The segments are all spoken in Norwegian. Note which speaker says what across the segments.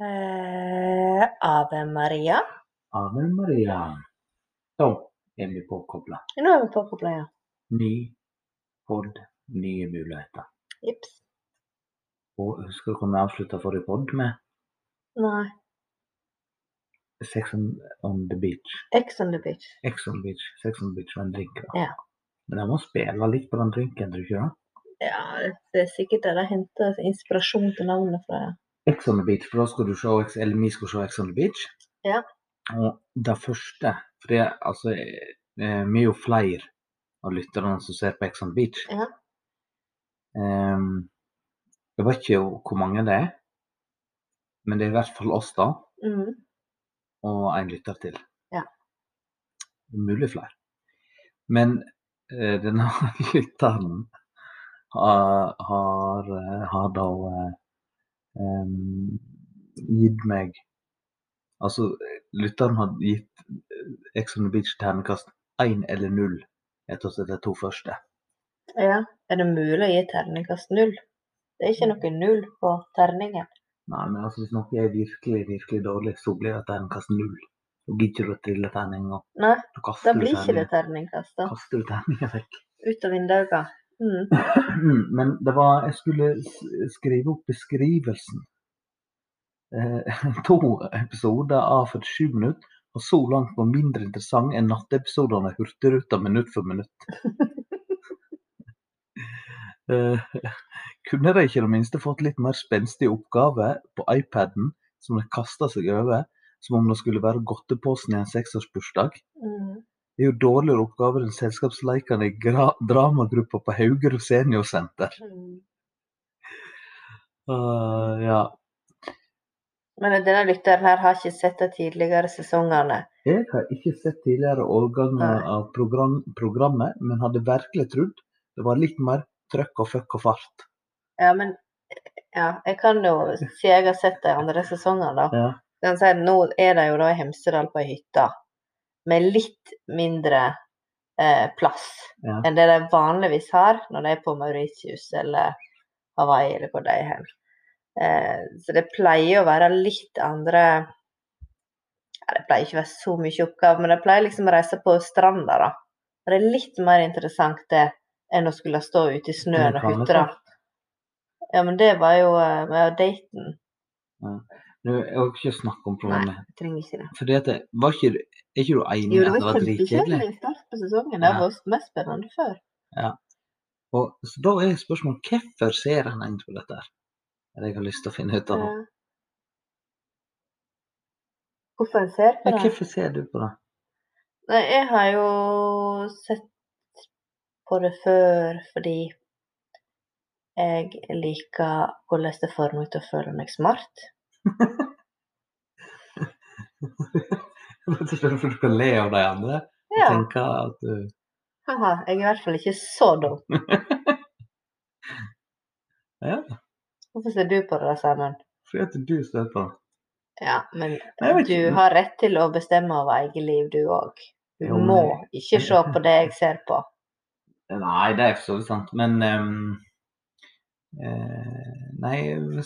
Speaker 1: Eh, Ave Maria.
Speaker 2: Ave Maria. Så er vi påkobla.
Speaker 1: Nå er vi påkobla, ja.
Speaker 2: Ny pod, nye muligheter.
Speaker 1: Jips.
Speaker 2: Og husker du hva vi avslutta forrige pod med?
Speaker 1: Nei.
Speaker 2: Sex on, on the beach.
Speaker 1: Ex on the beach.
Speaker 2: Ex on beach. Sex on the beach med en drink. da.
Speaker 1: Ja.
Speaker 2: Men jeg må spille litt på den drinken, tror du ikke det?
Speaker 1: Ja, det er sikkert der de henter inspirasjon til navnet fra. ja.
Speaker 2: Ex on the beach, for da skal du se, Ex- eller vi skal se Ex on the beach.
Speaker 1: Ja.
Speaker 2: Og det første, for det, altså, eh, eh, vi er jo flere av lytterne som ser på Ex on the beach.
Speaker 1: Ja.
Speaker 2: Ehm, jeg vet ikke hvor mange det er, men det er i hvert fall oss da,
Speaker 1: Mm.
Speaker 2: og en lytter til.
Speaker 1: Ja.
Speaker 2: Mulig flere. Men eh, denne lytteren har, har, eh, har da eh, em, gitt meg Altså, lytteren har gitt eh, Ex on the Beach ternekast én eller null etter at de to første.
Speaker 1: ja. Er det mulig å gi terningkast null? Det er ikke noe null på terningen.
Speaker 2: Nei, men altså, hvis noe er virkelig, virkelig dårlig, så blir det ternekast null. Da gidder du å trille terninga.
Speaker 1: Nei,
Speaker 2: Da kaster
Speaker 1: da
Speaker 2: du
Speaker 1: blir ikke det
Speaker 2: terningen-
Speaker 1: terningkast, da.
Speaker 2: kaster du terninga vekk.
Speaker 1: Ut av vinduet. Mm.
Speaker 2: Men det var Jeg skulle s- skrive opp beskrivelsen. Eh, to episoder av 47 minutter, og så langt var mindre interessant enn natteepisodene av Hurtigruta minutt for minutt. Eh, kunne de ikke i det minste fått litt mer spenstig oppgave på iPaden, som de kasta seg over, som om det skulle være godteposen i en seksårsbursdag?
Speaker 1: Mm.
Speaker 2: Det er jo dårligere oppgaver enn selskapsleikene i gra- dramagruppa på Haugerud seniorsenter.
Speaker 1: Mm.
Speaker 2: Ah, ja.
Speaker 1: Men denne lytteren her har ikke sett de tidligere sesongene.
Speaker 2: Jeg har ikke sett tidligere årganger
Speaker 1: Nei.
Speaker 2: av program, programmet, men hadde virkelig trodd det var litt mer trøkk og fuck og fart.
Speaker 1: Ja, men ja, jeg kan jo si jeg har sett de andre sesongene, da.
Speaker 2: Ja.
Speaker 1: Kan si, at nå er de jo da i Hemsedal på ei hytte med litt mindre eh, plass
Speaker 2: Ja.
Speaker 1: enn det de vanligvis har når de er på Mauritius eller Hawaii eller hvor de er hen. Eh, så det pleier å være litt andre ja, Det pleier ikke å være så mye oppgave, men de pleier liksom å reise på stranda, da. Og det er litt mer interessant det enn å skulle stå ute i snøen
Speaker 2: Men
Speaker 1: og
Speaker 2: kan det
Speaker 1: hutre. Ja, men det var jo eh, med daten.
Speaker 2: Nå, jeg orker ikke snakke om programmet.
Speaker 1: Jeg trenger ikke det.
Speaker 2: Fordi at det, var ikke, er ikke du enig
Speaker 1: Jo,
Speaker 2: i
Speaker 1: det
Speaker 2: at det
Speaker 1: var
Speaker 2: var dritkjedelig?
Speaker 1: kjempekjedelig i starten på sesongen. Det
Speaker 2: Ja.
Speaker 1: var mest spennende før.
Speaker 2: Og- Så da er spørsmålet hvorfor ser en egentlig på dette? her? Er det jeg har lyst til å finne ut av nå.
Speaker 1: Eh, Hvorfor en ser på
Speaker 2: Ja,
Speaker 1: det?
Speaker 2: hvorfor ser du på det?
Speaker 1: Nei, jeg har jo sett på det før fordi jeg liker hvordan det får meg til å føle meg smart.
Speaker 2: Rett og slett fordi du kan le av de andre og
Speaker 1: Ja,
Speaker 2: tenke at eh, du
Speaker 1: haha, jeg er i hvert fall ikke så dum.
Speaker 2: Ja.
Speaker 1: Hvorfor ser du på det da, Simon?
Speaker 2: Fordi at du ser på det.
Speaker 1: Ja, men
Speaker 2: Nei, jeg vet
Speaker 1: du
Speaker 2: ikke.
Speaker 1: har rett til å bestemme over eget liv, du òg. Du
Speaker 2: Jo, men
Speaker 1: må
Speaker 2: jeg-
Speaker 1: ikke se på det jeg ser på.
Speaker 2: Nei, det er for så vidt sant, men ehm, eh, Nei,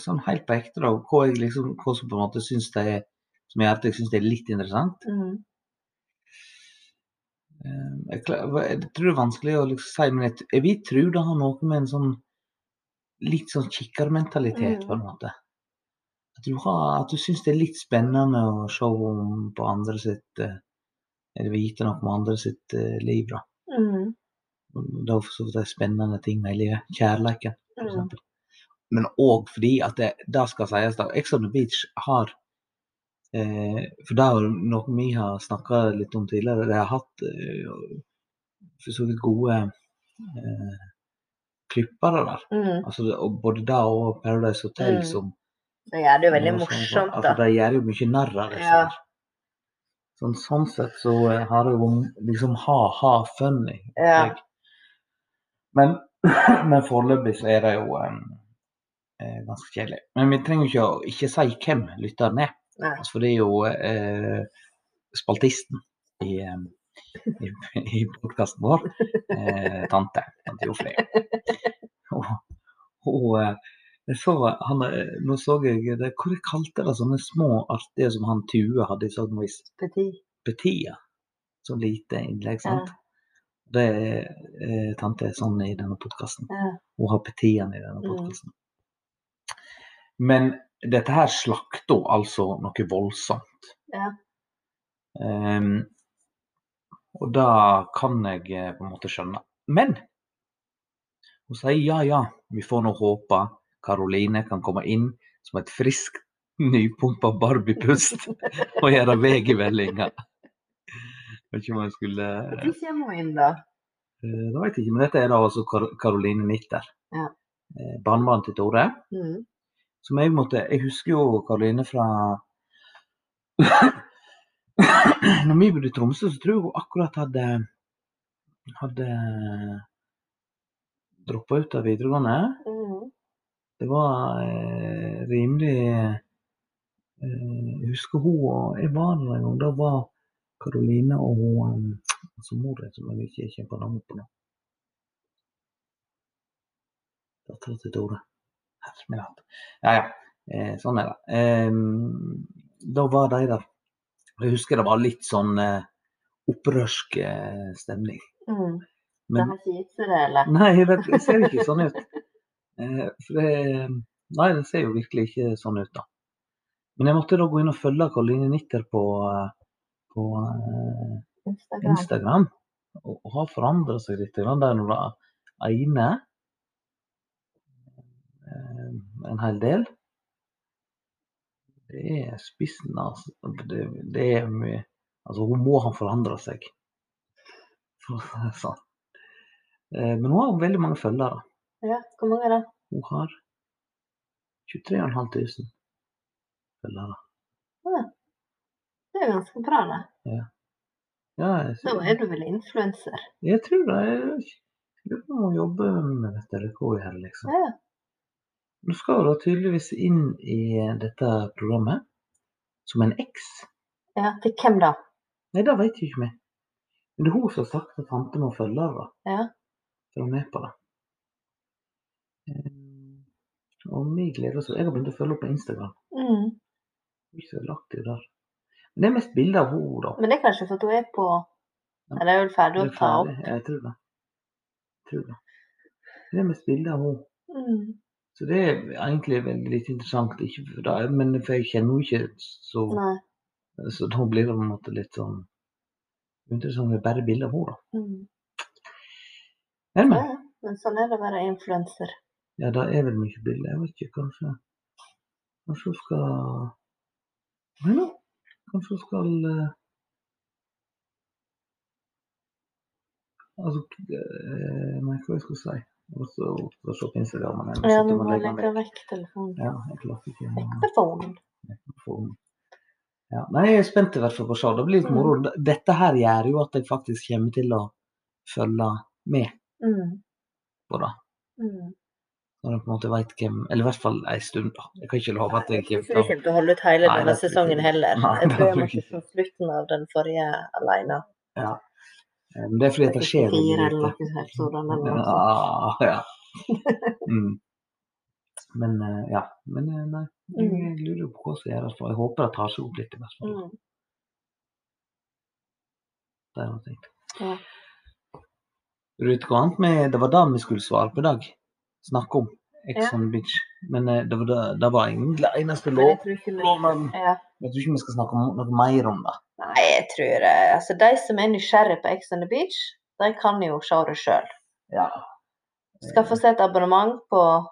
Speaker 2: sånn helt på ekte, da. Hva, jeg liksom, hva som på en måte syns det er Som gjør at jeg syns det er litt interessant.
Speaker 1: Mm.
Speaker 2: Ehm, jeg, klar, hva- jeg tror det er vanskelig å liksom si, men jeg, t- jeg vil tro det har noe med en sånn litt sånn kikkermentalitet,
Speaker 1: Mm.
Speaker 2: på en måte. At du, har, at du syns det er litt spennende å se om på andre sitt eh, Eller vite noe om andre sitt eh, liv, da.
Speaker 1: Mm.
Speaker 2: Og Det er for så vidt de spennende tingene i livet. Kjærleiken. for
Speaker 1: Mm.
Speaker 2: eksempel. Men òg fordi at det, det skal sies da, Ex on the Beach har eh, For det er jo noe vi har snakka litt om tidligere. De har hatt eh, for så vidt gode eh, klippere der.
Speaker 1: Mm.
Speaker 2: Altså, det- og både det og Paradise Hotel
Speaker 1: Mm.
Speaker 2: som
Speaker 1: Det gjør det jo veldig
Speaker 2: som-
Speaker 1: morsomt,
Speaker 2: Altså,
Speaker 1: da.
Speaker 2: de gjør jo mye narr av disse.
Speaker 1: Ja.
Speaker 2: her. Sånn, sånn sett så eh, har det jo liksom ha-ha funny.
Speaker 1: Ja.
Speaker 2: Jeg- Men, men foreløpig så er det jo em, eh, ganske kjedelig. Men vi trenger jo ikke å ikke si hvem lytteren er.
Speaker 1: Nei.
Speaker 2: Altså, for det er jo eh, spaltisten i, em, i, i podkasten vår. Eh, tante. Tante Jofrid. Og, og eh, Jeg så, han, eh, nå så jeg det, Hva de kalte det sånne små artige som han Tue hadde i Sogn og
Speaker 1: Petit.
Speaker 2: Ispetia? Så lite innlegg,
Speaker 1: Ja.
Speaker 2: sant? Det er eh, tante er sånn i denne podkasten.
Speaker 1: Ja.
Speaker 2: Hun har petiene i denne
Speaker 1: Mm.
Speaker 2: podkasten. Men dette her slakta altså noe voldsomt.
Speaker 1: Ja.
Speaker 2: Ehm, og det kan jeg eh, på en måte skjønne. Men hun sier ja, ja, vi får nå håpe Karoline kan komme inn som et friskt, nypumpa barbiepust og gjøre vegevellinga. Vet ikke om jeg skulle
Speaker 1: Når kommer hun inn, da?
Speaker 2: Eh, Det vet jeg ikke, men dette er da altså Kar Karoline Nitter.
Speaker 1: Ja.
Speaker 2: Eh, Barnebarn til Tore.
Speaker 1: Mm.
Speaker 2: Som jeg måtte Jeg husker jo Karoline fra Når vi bodde i Tromsø, så tror jeg hun akkurat hadde Hadde droppa ut av videregående.
Speaker 1: Mm.
Speaker 2: Det var eh, rimelig eh, Jeg husker hun og Jeg var der en gang. Da var Karoline og hun eh, altså mor som jeg ikke kjemper navnet på nå. Dattera til Tore. Herre min hatt. Ja ja, eh, sånn er det. Eh, da var de der. Jeg husker det var litt sånn eh, opprørsk eh, stemning.
Speaker 1: Mm. Det
Speaker 2: Men
Speaker 1: har ikke gitt seg, det, eller?
Speaker 2: Nei, jeg vet, det ser ikke sånn ut. Eh, For det, nei, det ser jo virkelig ikke sånn ut, da. Men jeg måtte da gå inn og følge Karoline Nitter på, eh, på eh,
Speaker 1: Instagram.
Speaker 2: Instagram. Og, og har forandra seg litt. grann Der hun var ene eh, en hel del. Det er spissen, altså. Det, det er mye Altså, hun må ha forandra seg. For å si det sånn. Eh, Men hun har veldig mange følgere.
Speaker 1: Ja, hvor mange er det?
Speaker 2: Hun har 23.500 følgere.
Speaker 1: Det er jo ganske bra, det.
Speaker 2: Ja, jeg,
Speaker 1: Da
Speaker 2: sy-
Speaker 1: er du vel influenser?
Speaker 2: jeg tror det. Jeg lurer på om hun jobber med dette, eller hva hun gjør, liksom.
Speaker 1: Ja.
Speaker 2: Nå skal hun da tydeligvis inn i dette programmet som en X.
Speaker 1: ja. Til hvem da?
Speaker 2: Nei, det vet jeg ikke vi. Men det er hun som har sagt at tante må følge det, da.
Speaker 1: Ja.
Speaker 2: For hun er med på det. Eh, Og vi gleder oss. Jeg har begynt å følge henne på Instagram.
Speaker 1: Mm.
Speaker 2: Hun er ikke så aktiv der. Men det er mest bilder av henne, da.
Speaker 1: Men det er kanskje for at hun er på
Speaker 2: Ja.
Speaker 1: Eller er vel ferdig
Speaker 2: Det
Speaker 1: å
Speaker 2: er
Speaker 1: ta opp?
Speaker 2: ferdig. Jeg tror det. Jeg tror det. Det er mest bilder av henne.
Speaker 1: Mm.
Speaker 2: Så det er egentlig veldig litt interessant. Ikke for deg, men for jeg kjenner henne ikke så
Speaker 1: Nei.
Speaker 2: Så da blir det på en måte litt sånn Interessant med bare bilder av henne, da.
Speaker 1: Mm. Ja,
Speaker 2: Men, men.
Speaker 1: ja. men sånn er det å være influenser.
Speaker 2: Ja, det er vel mye bilder. Jeg vet ikke, kanskje Kanskje hun skal Nei, nå. Kanskje hun skal eh, Altså eh, Nei, hva jeg skulle si? Også, også se på Instagram. men jeg må
Speaker 1: Ja,
Speaker 2: sitte
Speaker 1: du
Speaker 2: og
Speaker 1: må
Speaker 2: legge den
Speaker 1: legge
Speaker 2: vekk.
Speaker 1: vekk telefonen.
Speaker 2: Ja, jeg klarte ikke å
Speaker 1: Ektefonen.
Speaker 2: få den. ja. Nei, jeg er spent i hvert fall på å se. Det blir litt
Speaker 1: Mm.
Speaker 2: moro. Dette her gjør jo at jeg faktisk kommer til å følge med
Speaker 1: Mm.
Speaker 2: på det.
Speaker 1: Mm.
Speaker 2: Når jeg på en måte vet hvem Eller i hvert fall ei stund, da. Jeg kan ikke love at jeg
Speaker 1: Jeg
Speaker 2: kommer
Speaker 1: tror
Speaker 2: til å
Speaker 1: ikke til å holde ut hele
Speaker 2: Nei,
Speaker 1: denne
Speaker 2: det tror jeg
Speaker 1: sesongen
Speaker 2: ikke.
Speaker 1: heller.
Speaker 2: Nei,
Speaker 1: Jeg tror
Speaker 2: det
Speaker 1: jeg
Speaker 2: tror jeg
Speaker 1: måtte få slutten av den forrige alene.
Speaker 2: Eh, Men det er fordi at det skjer veldig
Speaker 1: Fire eller
Speaker 2: lite.
Speaker 1: noe sånt. Sånn, eller noe sånt.
Speaker 2: Ja, ja. Mm. Men eh, ja. Men eh, nei, jeg
Speaker 1: Mm.
Speaker 2: jeg lurer på hva som gjøres. for Jeg håper det tar seg opp litt. i hvert fall.
Speaker 1: Mm.
Speaker 2: Det er noe tenkt.
Speaker 1: Ja.
Speaker 2: Ruth, hva annet med- Det var det vi skulle svare på i dag. Snakke om Ex
Speaker 1: Ja.
Speaker 2: on the Beach. Men eh, det var, det, det var egentlig det eneste
Speaker 1: Men jeg
Speaker 2: lov.
Speaker 1: tror ikke vi-
Speaker 2: Lovnaden.
Speaker 1: Ja.
Speaker 2: Jeg tror ikke vi skal snakke om noe mer om det.
Speaker 1: Nei, jeg tror eh, Altså, de som er nysgjerrige på Ex on the Beach, de kan jo se det sjøl.
Speaker 2: Ja.
Speaker 1: Skaffe seg et abonnement på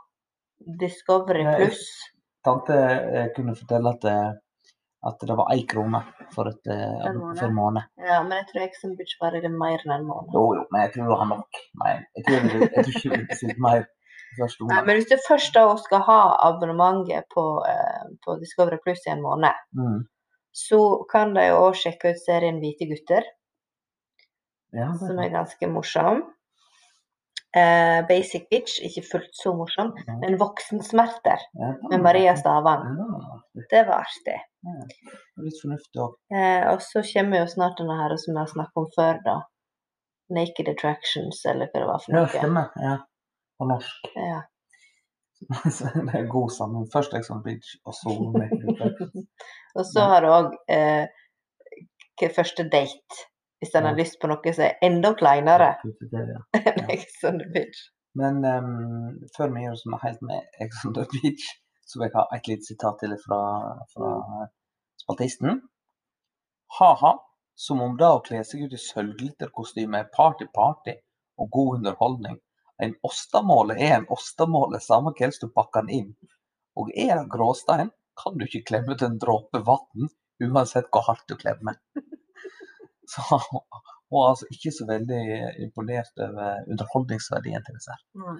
Speaker 1: Discovery
Speaker 2: Nei.
Speaker 1: pluss.
Speaker 2: Tante eh, kunne fortelle at, eh, at det var én krone for, et, eh,
Speaker 1: Per måned.
Speaker 2: for en måned.
Speaker 1: Ja, men jeg tror Ex on the Beach varer i mer enn en måned.
Speaker 2: Jo, jo, men jeg tror du har nok. Nei, jeg tror, jeg, jeg tror ikke du sier mer første
Speaker 1: Nei,
Speaker 2: ordet.
Speaker 1: men hvis du først da skal ha abonnementet på, eh, på Discovery pluss i en måned,
Speaker 2: Mm.
Speaker 1: så kan de jo òg sjekke ut serien Hvite gutter,
Speaker 2: Ja, det
Speaker 1: som
Speaker 2: er
Speaker 1: er ganske morsom. Eh, Basic Bitch, ikke fullt så morsom,
Speaker 2: sant.
Speaker 1: men Voksensmerter
Speaker 2: Ja, det er
Speaker 1: med Maria Stavang.
Speaker 2: Ja, det
Speaker 1: Det var artig.
Speaker 2: er litt fornuftig òg.
Speaker 1: Eh, og så kommer jo snart denne her som vi har snakket om før, da. Naked Attractions, eller hva det var for
Speaker 2: Ja,
Speaker 1: noe.
Speaker 2: stemmer. Ja. På norsk.
Speaker 1: Ja.
Speaker 2: Så det er god sammen. Først Exxon Bridge, og så Make It Better.
Speaker 1: Og så har du òg eh, k- første date, hvis en har
Speaker 2: Ja.
Speaker 1: lyst på noe som er enda kleinere sånn
Speaker 2: Det er det.
Speaker 1: enn Exxon Beach.
Speaker 2: Men ehm, før vi gjør oss med- helt med Ex on the Beach, så vil jeg ha et lite sitat til fra, fra spaltisten. Ha-ha, som om det å kle seg ut i sølvglitterkostyme er party-party og god underholdning. En ostamåle er en ostamåle, samme hvordan du pakker den inn. Og er det gråstein, kan du ikke klemme ut en dråpe vann, uansett hvor hardt du klemmer. Så hun er altså ikke så veldig imponert over underholdningsverdien til disse her.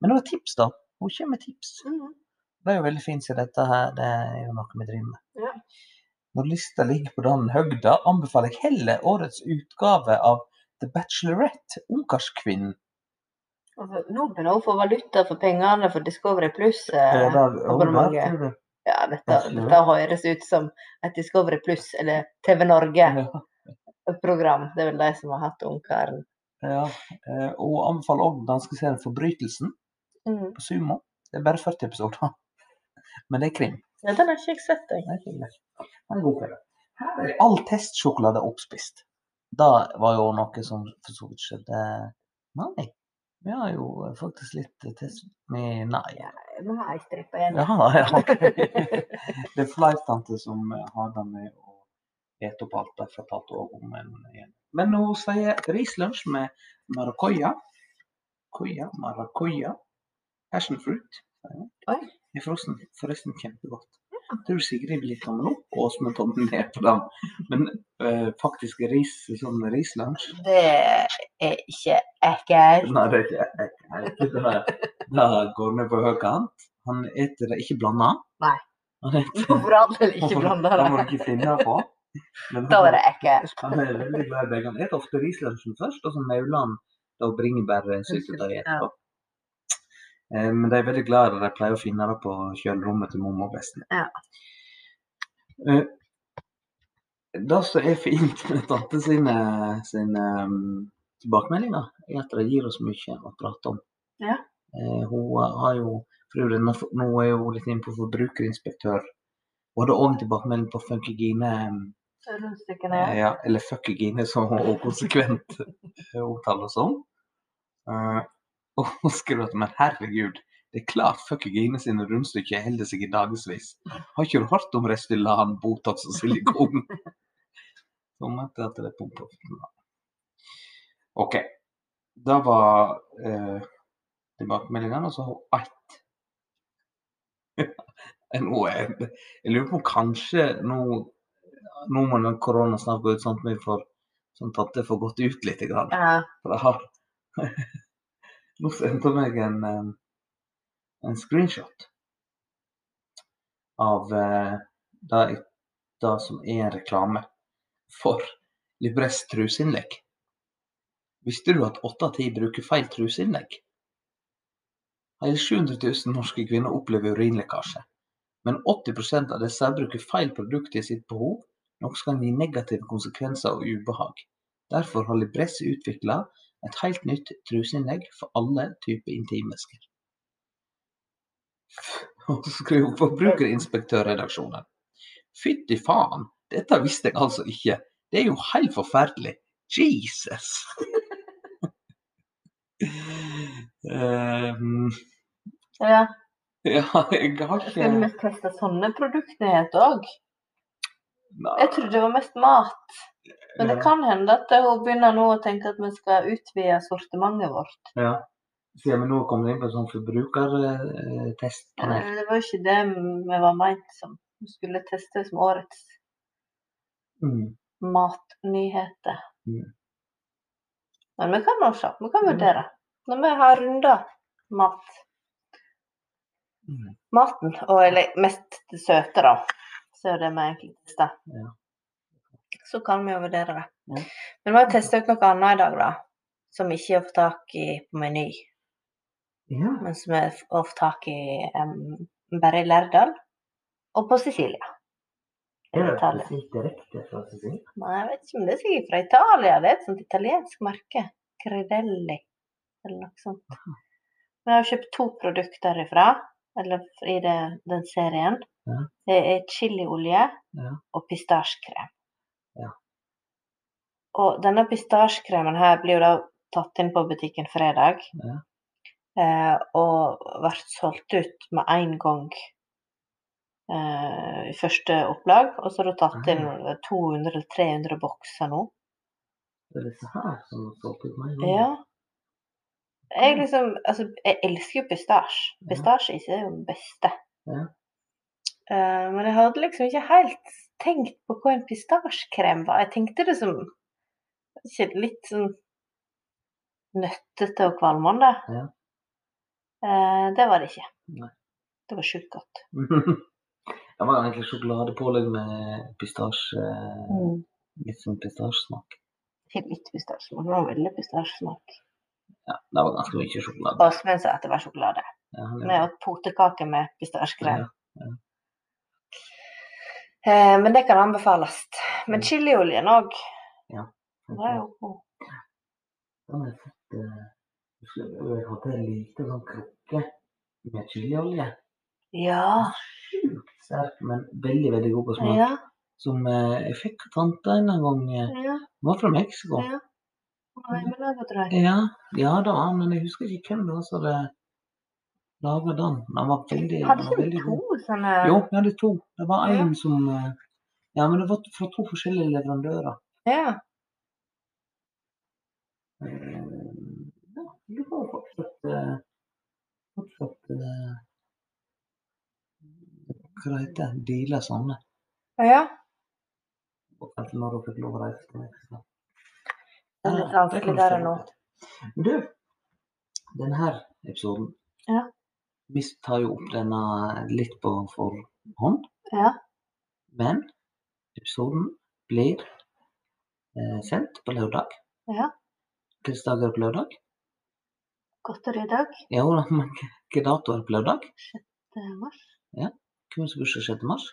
Speaker 2: Men det var tips, da. Hun kommer med tips.
Speaker 1: Mm.
Speaker 2: Det er jo veldig fint, siden dette her det er jo noe vi driver med.
Speaker 1: Ja.
Speaker 2: Når lista ligger på den høgda, anbefaler jeg heller årets utgave av The Bachelorette, Ungkarskvinnen.
Speaker 1: Altså, nå begynner hun å få valuta for pengene for Discovery Pluss. Eh,
Speaker 2: Eller der-
Speaker 1: og bare mange.
Speaker 2: tror du?
Speaker 1: ja, dette, dette høres ut som et Discovery Pluss eller TV Norge-program.
Speaker 2: Ja.
Speaker 1: Det er vel de som har hatt Ungkaren.
Speaker 2: ja. Eh, Og hun anbefaler også den danske serien Forbrytelsen
Speaker 1: Mm.
Speaker 2: på Sumo. Det er bare 40 episoder. Men det er krim.
Speaker 1: Ja, den har ikke jeg sett, jeg.
Speaker 2: Nei, ikke mer. Ha en god kveld. Her er All testsjokolade oppspist. Det var jo noe som for så vidt skjedde Nei. Vi har jo faktisk litt test... Nei. nei.
Speaker 1: Nå har jeg strippa igjen.
Speaker 2: Ja, ja, ok. Det er fleiptante som eh, har det med å ete opp alt. Derfor talte jeg også om en igjen. Men nå sier jeg rislunsj med maracuja. Koia, maracuja. Passion fruit. sier jeg.
Speaker 1: Oi.
Speaker 2: Det er frossen. Forresten kjempegodt. Jeg tror Sigrid blir tommel opp, og Åsmund tommel ned på den. Men eh, faktisk ris som rislunsj
Speaker 1: Det er ikke ekkelt.
Speaker 2: Nei, det er ikke jeg. jeg er ikke det. Da går vi på høykant. Han eter det ikke blanda.
Speaker 1: Nei.
Speaker 2: Han eter
Speaker 1: For all del ikke blanda
Speaker 2: det. må du
Speaker 1: det.
Speaker 2: ikke finne på. Men
Speaker 1: Da
Speaker 2: han-
Speaker 1: er det ekkelt.
Speaker 2: Han er veldig glad i begge. Han eter ofte rislunsjen først, og så mauler han da bringebærsyltetøy etterpå. Eh, Men de er veldig glad i det. De pleier å finne det på kjølerommet til mamma og bestemor.
Speaker 1: Ja.
Speaker 2: Eh, Det som er fint med tante sine, sine um, tilbakemeldinger, er at de gir oss mye å prate om.
Speaker 1: Ja.
Speaker 2: Eh, hun har jo for øvrig, nå, nå er hun litt inne på forbrukerinspektør. Hun hadde òg tilbakemelding på Funkygine. Um,
Speaker 1: Rundstykkene, ja.
Speaker 2: ja, eller fuckegine, som hun også konsekvent omtaler oss som. Eh, og hun skriver at men herregud, det er klart fuckegine sine rundstykker holder seg i dagevis. Har ikke du hørt om Restylan, Botox og silikon? Så hun mente at det er pumpa. OK. Da var eh, tilbakemeldingene, og så har hun ett. Nå er Jeg lurer på om kanskje nå nå må den korona snart gå ut, sånn at vi får sånn at det får gått ut litt. Grann.
Speaker 1: ja.
Speaker 2: For jeg har Nå sendte hun meg en, em, en screenshot av eh, det, jeg- det som er en reklame for Libres truseinnlegg. Visste du at åtte av ti bruker feil truseinnlegg? Hele 700 000 norske kvinner opplever urinlekkasje. Men 80 av disse bruker feil produkt i sitt behov, noe som kan gi negative konsekvenser og ubehag. Derfor har Libresse utvikla et helt nytt truseinnlegg for alle typer intimvæsker. Og så skriver hun Forbrukerinspektørredaksjonen. Fytti faen, dette visste jeg altså ikke. Det er jo helt forferdelig. Jesus! Ehm,
Speaker 1: ja.
Speaker 2: ja, jeg har ikke
Speaker 1: Skulle vi teste sånne produktnyheter òg?
Speaker 2: Nei.
Speaker 1: Jeg trodde det var mest mat. Men det
Speaker 2: Ja.
Speaker 1: kan hende at hun begynner nå å tenke at vi skal utvide sortimentet vårt.
Speaker 2: Ja. Siden vi nå kommer inn på en sånn forbrukertest.
Speaker 1: Eller, Det var ikke det vi var meint som. Vi skulle teste som årets
Speaker 2: Mm.
Speaker 1: matnyheter.
Speaker 2: Mm.
Speaker 1: Men vi kan nå se. Vi kan
Speaker 2: Mm.
Speaker 1: vurdere. Når vi har runda mat.
Speaker 2: Mm.
Speaker 1: maten, og eller mest det søte, da. Så er det vi egentlig tester.
Speaker 2: Ja.
Speaker 1: Så kan vi jo vurdere det.
Speaker 2: Ja.
Speaker 1: Men vi har testa ut noe annet i dag, da. Som vi ikke har fått tak i på Meny,
Speaker 2: Ja.
Speaker 1: men som vi har fått tak i em, bare i Lærdal. Og på Sicilia. I Italia.
Speaker 2: direkte fra Cecilie?
Speaker 1: Nei, jeg vet ikke om det er sikkert fra Italia. Det er et sånt italiensk merke. Credelli eller noe sånt. Vi har kjøpt to produkter derifra. eller i det, den serien,
Speaker 2: Ja.
Speaker 1: det er chiliolje
Speaker 2: Ja.
Speaker 1: og pistasjekrem.
Speaker 2: Ja.
Speaker 1: Og denne pistasjekremen her blir jo da tatt inn på butikken fredag.
Speaker 2: Ja.
Speaker 1: eh, Og blir solgt ut med en gang eh, i første opplag. Og så har du tatt inn 200-300 bokser nå.
Speaker 2: Det er disse her som har stått ut meg.
Speaker 1: Ja. Jeg liksom Altså, jeg elsker jo pistasje.
Speaker 2: Ja.
Speaker 1: Pistasjeis er jo den beste.
Speaker 2: Ja.
Speaker 1: Eh, men jeg hadde liksom ikke helt tenkt på hva en pistasjekrem var. Jeg tenkte det som ikke litt sånn nøttete og kvalmende.
Speaker 2: Ja.
Speaker 1: Eh, det var det ikke.
Speaker 2: Nei.
Speaker 1: Det var sjukt godt.
Speaker 2: det var egentlig sjokoladepålegg med pistasje,
Speaker 1: Mm.
Speaker 2: litt sånn pistasjesmak.
Speaker 1: Ikke litt pistasje, men det var veldig pistasjesmak.
Speaker 2: Ja, det var ganske mye sjokolade.
Speaker 1: Og så at det var sjokolade.
Speaker 2: Ja, han
Speaker 1: Med
Speaker 2: er-
Speaker 1: å potekake med pistasjekrem.
Speaker 2: ja.
Speaker 1: Eh, men det kan anbefales. Men
Speaker 2: Ja.
Speaker 1: chilioljen òg.
Speaker 2: Den
Speaker 1: Det er jo god.
Speaker 2: har jeg fått eh, husker du, Jeg hadde en liten sånn krukke med chiliolje.
Speaker 1: Ja.
Speaker 2: Sjukt sterk, men veldig, veldig god på smak.
Speaker 1: Ja.
Speaker 2: Som eh, jeg fikk av tante en gang. eh,
Speaker 1: ja.
Speaker 2: Hun var fra Mexico.
Speaker 1: ja. Nei, men det var drøyt.
Speaker 2: Ja, ja da, men jeg husker ikke hvem det var som hadde laga den. Den var veldig, den
Speaker 1: Hadde
Speaker 2: var
Speaker 1: ikke vi
Speaker 2: veldig god.
Speaker 1: to sånne
Speaker 2: Jo, vi hadde to. Det var
Speaker 1: Eh, Ja.
Speaker 2: en som eh, Ja, men det var fra to forskjellige leverandører.
Speaker 1: Ja.
Speaker 2: Eh, Ja, du har fortsatt eh, Fortsatt eh, Hva det heter det? Dealer sånne.
Speaker 1: ja.
Speaker 2: Og kanskje når hun fikk lov å reise til Mexico.
Speaker 1: Det er litt
Speaker 2: Ja, kan
Speaker 1: vanskelig
Speaker 2: du
Speaker 1: der
Speaker 2: se
Speaker 1: og nå.
Speaker 2: litt etter. Men du, denne episoden
Speaker 1: Ja.
Speaker 2: Vi tar jo opp denne litt på forhånd,
Speaker 1: Ja.
Speaker 2: men episoden blir eh, sendt på lørdag.
Speaker 1: Ja.
Speaker 2: Hvilken dag er det på lørdag?
Speaker 1: Godteri i dag.
Speaker 2: Ja, men hvilken dato er det på lørdag?
Speaker 1: Det er mars.
Speaker 2: Hvem som bursdag 6. mars?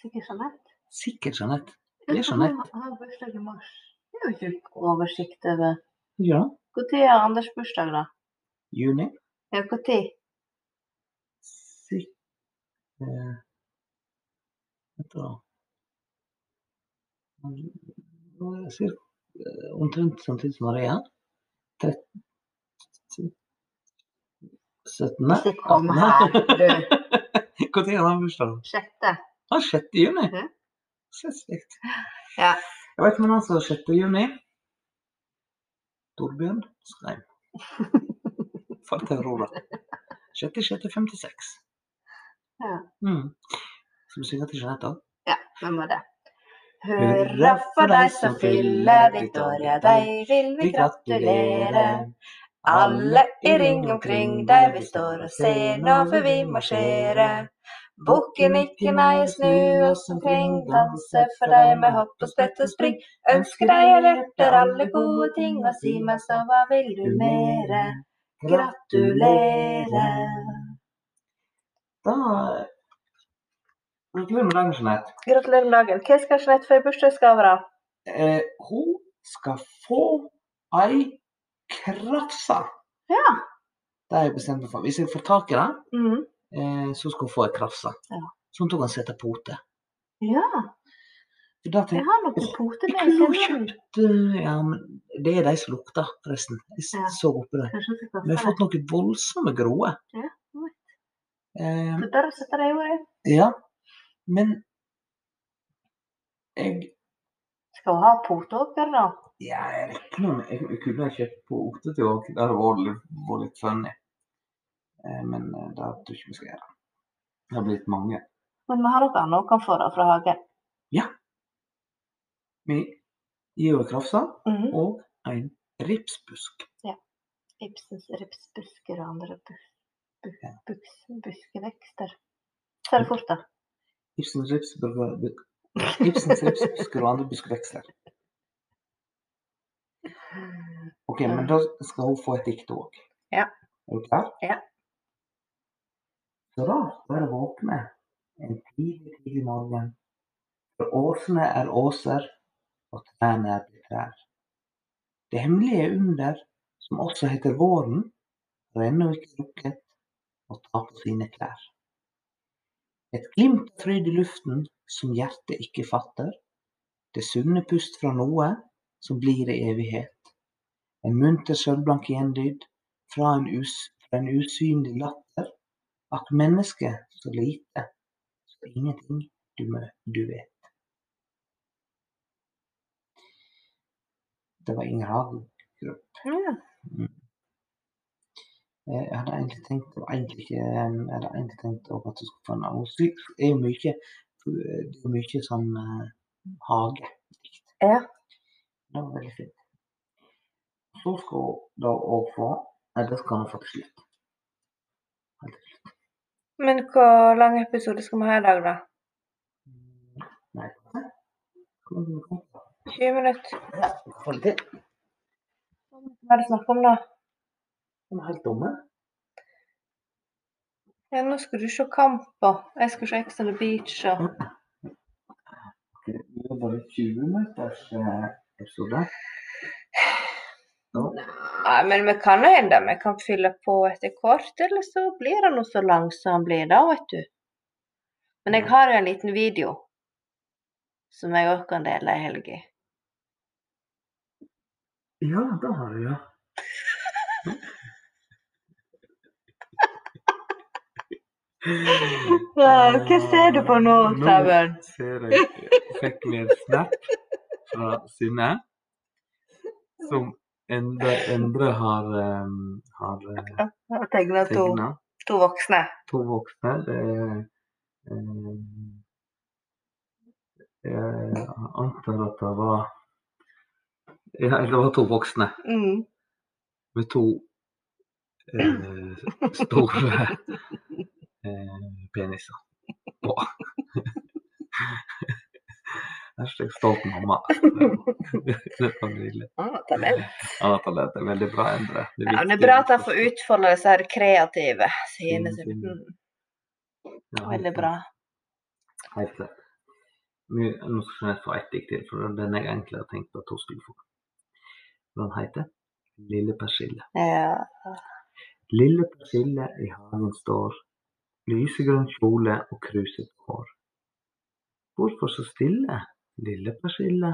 Speaker 1: Sikkert Jeanette.
Speaker 2: Sikkert Jeanette. Det er Jeanette.
Speaker 1: Jeg har bursdag i mars. Det er jo ikke oversikt over
Speaker 2: Ja.
Speaker 1: Når har Anders bursdag, da?
Speaker 2: Juni.
Speaker 1: Ja, når?
Speaker 2: Sik... Eh, vent da. Nå er det cir- eh, Omtrent samtidig som Maria. Trett- syttende?
Speaker 1: Ikke kom
Speaker 2: Attende?
Speaker 1: her, du.
Speaker 2: Når er han bursdag?
Speaker 1: Sjette.
Speaker 2: Han er 6. juni.
Speaker 1: Mhm.
Speaker 2: Søsvikt.
Speaker 1: Ja.
Speaker 2: Jeg vet men altså 6. juni. Torbjørn Skreim. Far til Aurora. 6.6.56.
Speaker 1: Ja.
Speaker 2: Mm. Skal du synge til Jeanette òg?
Speaker 1: Ja, vi må det.
Speaker 2: Hurra for deg som fyller Victoria, deg
Speaker 1: vil
Speaker 2: Vi gratulerer. Alle i ring omkring deg, vi står og ser når vi marsjerer. Bukken ikke nei, snu oss omkring, danse for deg med hopp og sprett og spring.
Speaker 1: Ønsker deg av hjerter alle gode ting, og si meg så hva vil du mere? Gratulerer.
Speaker 2: Da Gratulerer med dagen, Jeanette.
Speaker 1: Gratulerer med dagen. Hva skal Jeanette få i bursdagsgave, da?
Speaker 2: Eh, hun skal få ei krafse.
Speaker 1: Ja.
Speaker 2: Det har jeg bestemt meg for. Hvis jeg får tak i det,
Speaker 1: Mm.
Speaker 2: eh, så skal hun få ei krafse.
Speaker 1: Ja.
Speaker 2: Sånn at hun kan sette pote.
Speaker 1: Ja,
Speaker 2: For da tenker
Speaker 1: jeg har noen poter
Speaker 2: jeg
Speaker 1: med i
Speaker 2: kunne ha
Speaker 1: kjelleren.
Speaker 2: kjøpt eh, ja, men Det er de som lukter, forresten. Jeg
Speaker 1: Ja.
Speaker 2: så oppi det.
Speaker 1: Kanskje jeg skal
Speaker 2: Vi har
Speaker 1: kaste det.
Speaker 2: fått noen voldsomme groer.
Speaker 1: Ja, jeg vet.
Speaker 2: Eh,
Speaker 1: Det Der setter jeg ordet.
Speaker 2: ja. Men jeg
Speaker 1: Skal hun ha pote òg, da?
Speaker 2: ja, jeg regner med Jeg jeg kunne ha kjøpt på Ote til òg. Det hadde vært litt, vært litt funny. Eh, men eh, det tror jeg ikke vi skal gjøre. Det har blitt mange.
Speaker 1: Men vi har noe annet hun kan få da fra hagen.
Speaker 2: Vi gir henne krafsa
Speaker 1: Mhm.
Speaker 2: og en ripsbusk.
Speaker 1: Ibsens ripsbusker og andre bus, bu,
Speaker 2: Ja.
Speaker 1: buks, buskevekster. Så er det fort, da.
Speaker 2: Ibsens ripsbusker, Ibsens ripsbusker og andre buskveksler. Ok, men da skal hun få et dikt òg.
Speaker 1: Mm. Ja.
Speaker 2: Er du klar?
Speaker 1: Ja.
Speaker 2: Så rart å være våkne en tidlig, tidlig morgen. For åsene er åser, og trærne er til trær. Det hemmelige under, som også heter våren, har ennå ikke lukket, og ta på sine klær. Et glimt av fryd i luften som hjertet ikke fatter. Det sunne pust fra noe som blir i evighet. En munter sølvblank gjenlyd fra en, us, fra en usynlig latter. Akk mennesket så lite, så ingenting du, mø- du vet. Det var Inger Hagen.
Speaker 1: Ja.
Speaker 2: Eh, Jeg hadde egentlig tenkt å egentlig ikke eh, Jeg hadde egentlig tenkt å at du skulle få en avsnitt. Det er jo mye, det er mye sånn eh, hage.
Speaker 1: Ja.
Speaker 2: Det var veldig fint. Så skal hun da òg få Nei, det skal hun få til slutt.
Speaker 1: Men hvor lang episode skal vi ha i dag, da?
Speaker 2: Nei. Kom, kom, kom.
Speaker 1: 20 minutter?
Speaker 2: Ja, få det til.
Speaker 1: Hva er det snakk om, da?
Speaker 2: De er helt dumme.
Speaker 1: Ja, nå skal du se kamper. Jeg skal se Ex on the Beach og
Speaker 2: Det var bare 20 minutters eh, episode. Nå.
Speaker 1: Nei, men vi kan jo hende vi kan fylle på etter kort, eller så blir det nå så lang som han blir da, vet du. Men jeg har jo en liten video som jeg òg kan dele i helga.
Speaker 2: Ja, det har du, ja.
Speaker 1: Hva ser du på nå, Saben?
Speaker 2: ser jeg fikk vi en snap fra Synne, som Endre, Endre har, um, har eh,
Speaker 1: Jeg har tegna to,
Speaker 2: tegnet.
Speaker 1: to voksne.
Speaker 2: to voksne. Det er eh, Jeg antar at det var Ja, eller det var to voksne
Speaker 1: Mm.
Speaker 2: med to eh, store eh, peniser på. Hashtag stolt mamma. Det var nydelig.
Speaker 1: Ah, talent.
Speaker 2: Ja, Talent, det er veldig bra, Endre.
Speaker 1: Ja, men det er bra at han får utfolde disse her kreative sidene sine.
Speaker 2: Sine,
Speaker 1: Mm, Veldig bra.
Speaker 2: Helt klart. Nå nå skal jeg få ett dikt til, for den jeg egentlig har tenkt at hun skulle få. Den heter 'Lille persille'.
Speaker 1: Ja.
Speaker 2: Lille persille i hagen står, lysegrønn kjole og kruset hår. Hvorfor så stille, lille persille,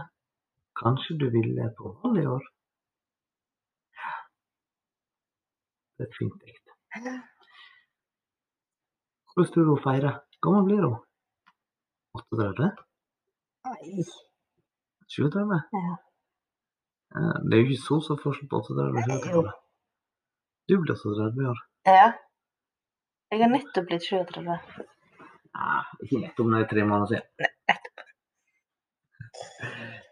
Speaker 2: kanskje du ville på valg i år? Det er et fint dikt. Hvordan tror du hun feirer? Hvor gammel blir hun? 38?
Speaker 1: Nei.
Speaker 2: 37?
Speaker 1: Ja.
Speaker 2: Ja, Det er jo ikke så stor forskjell på 38 og
Speaker 1: Nei,
Speaker 2: 37. Du blir 38 i år.
Speaker 1: ja. Jeg har nettopp blitt 37.
Speaker 2: Nei, ikke nettopp når det er tre måneder siden.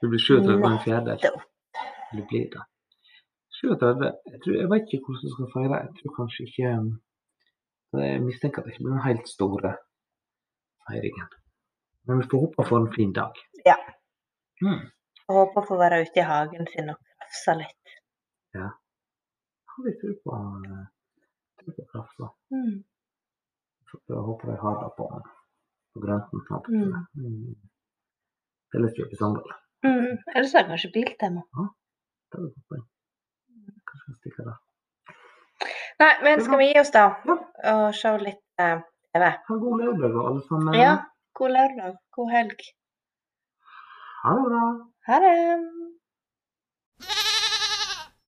Speaker 2: Du blir 37 og en fjerdedel.
Speaker 1: Nettopp.
Speaker 2: Du blir det. 37 Jeg, tror, jeg vet ikke hvordan du skal feire. Jeg tror kanskje ikke um, Jeg mistenker at det ikke blir den helt store feiringen. Men vi får håpe for en fin dag.
Speaker 1: Ja.
Speaker 2: Mm.
Speaker 1: Jeg håper å få være ute i hagen sin og krafse litt.
Speaker 2: Har vi tro på, eh, tro på kraft, da?
Speaker 1: Mm.
Speaker 2: Så jeg håper jeg har det på, på grønten. snart.
Speaker 1: Mm.
Speaker 2: Mm. Det er litt kjøp i sandal.
Speaker 1: Mm. Ellers er det kanskje biltema.
Speaker 2: Det er jo et poeng. Kanskje jeg stikker der.
Speaker 1: Nei, men skal vi gi oss, da?
Speaker 2: Ja.
Speaker 1: Og se litt eh, TV.
Speaker 2: Ha en god lørdag, alle sammen.
Speaker 1: Ja. God lørdag. God helg.
Speaker 2: Ha det bra.
Speaker 1: Ha det.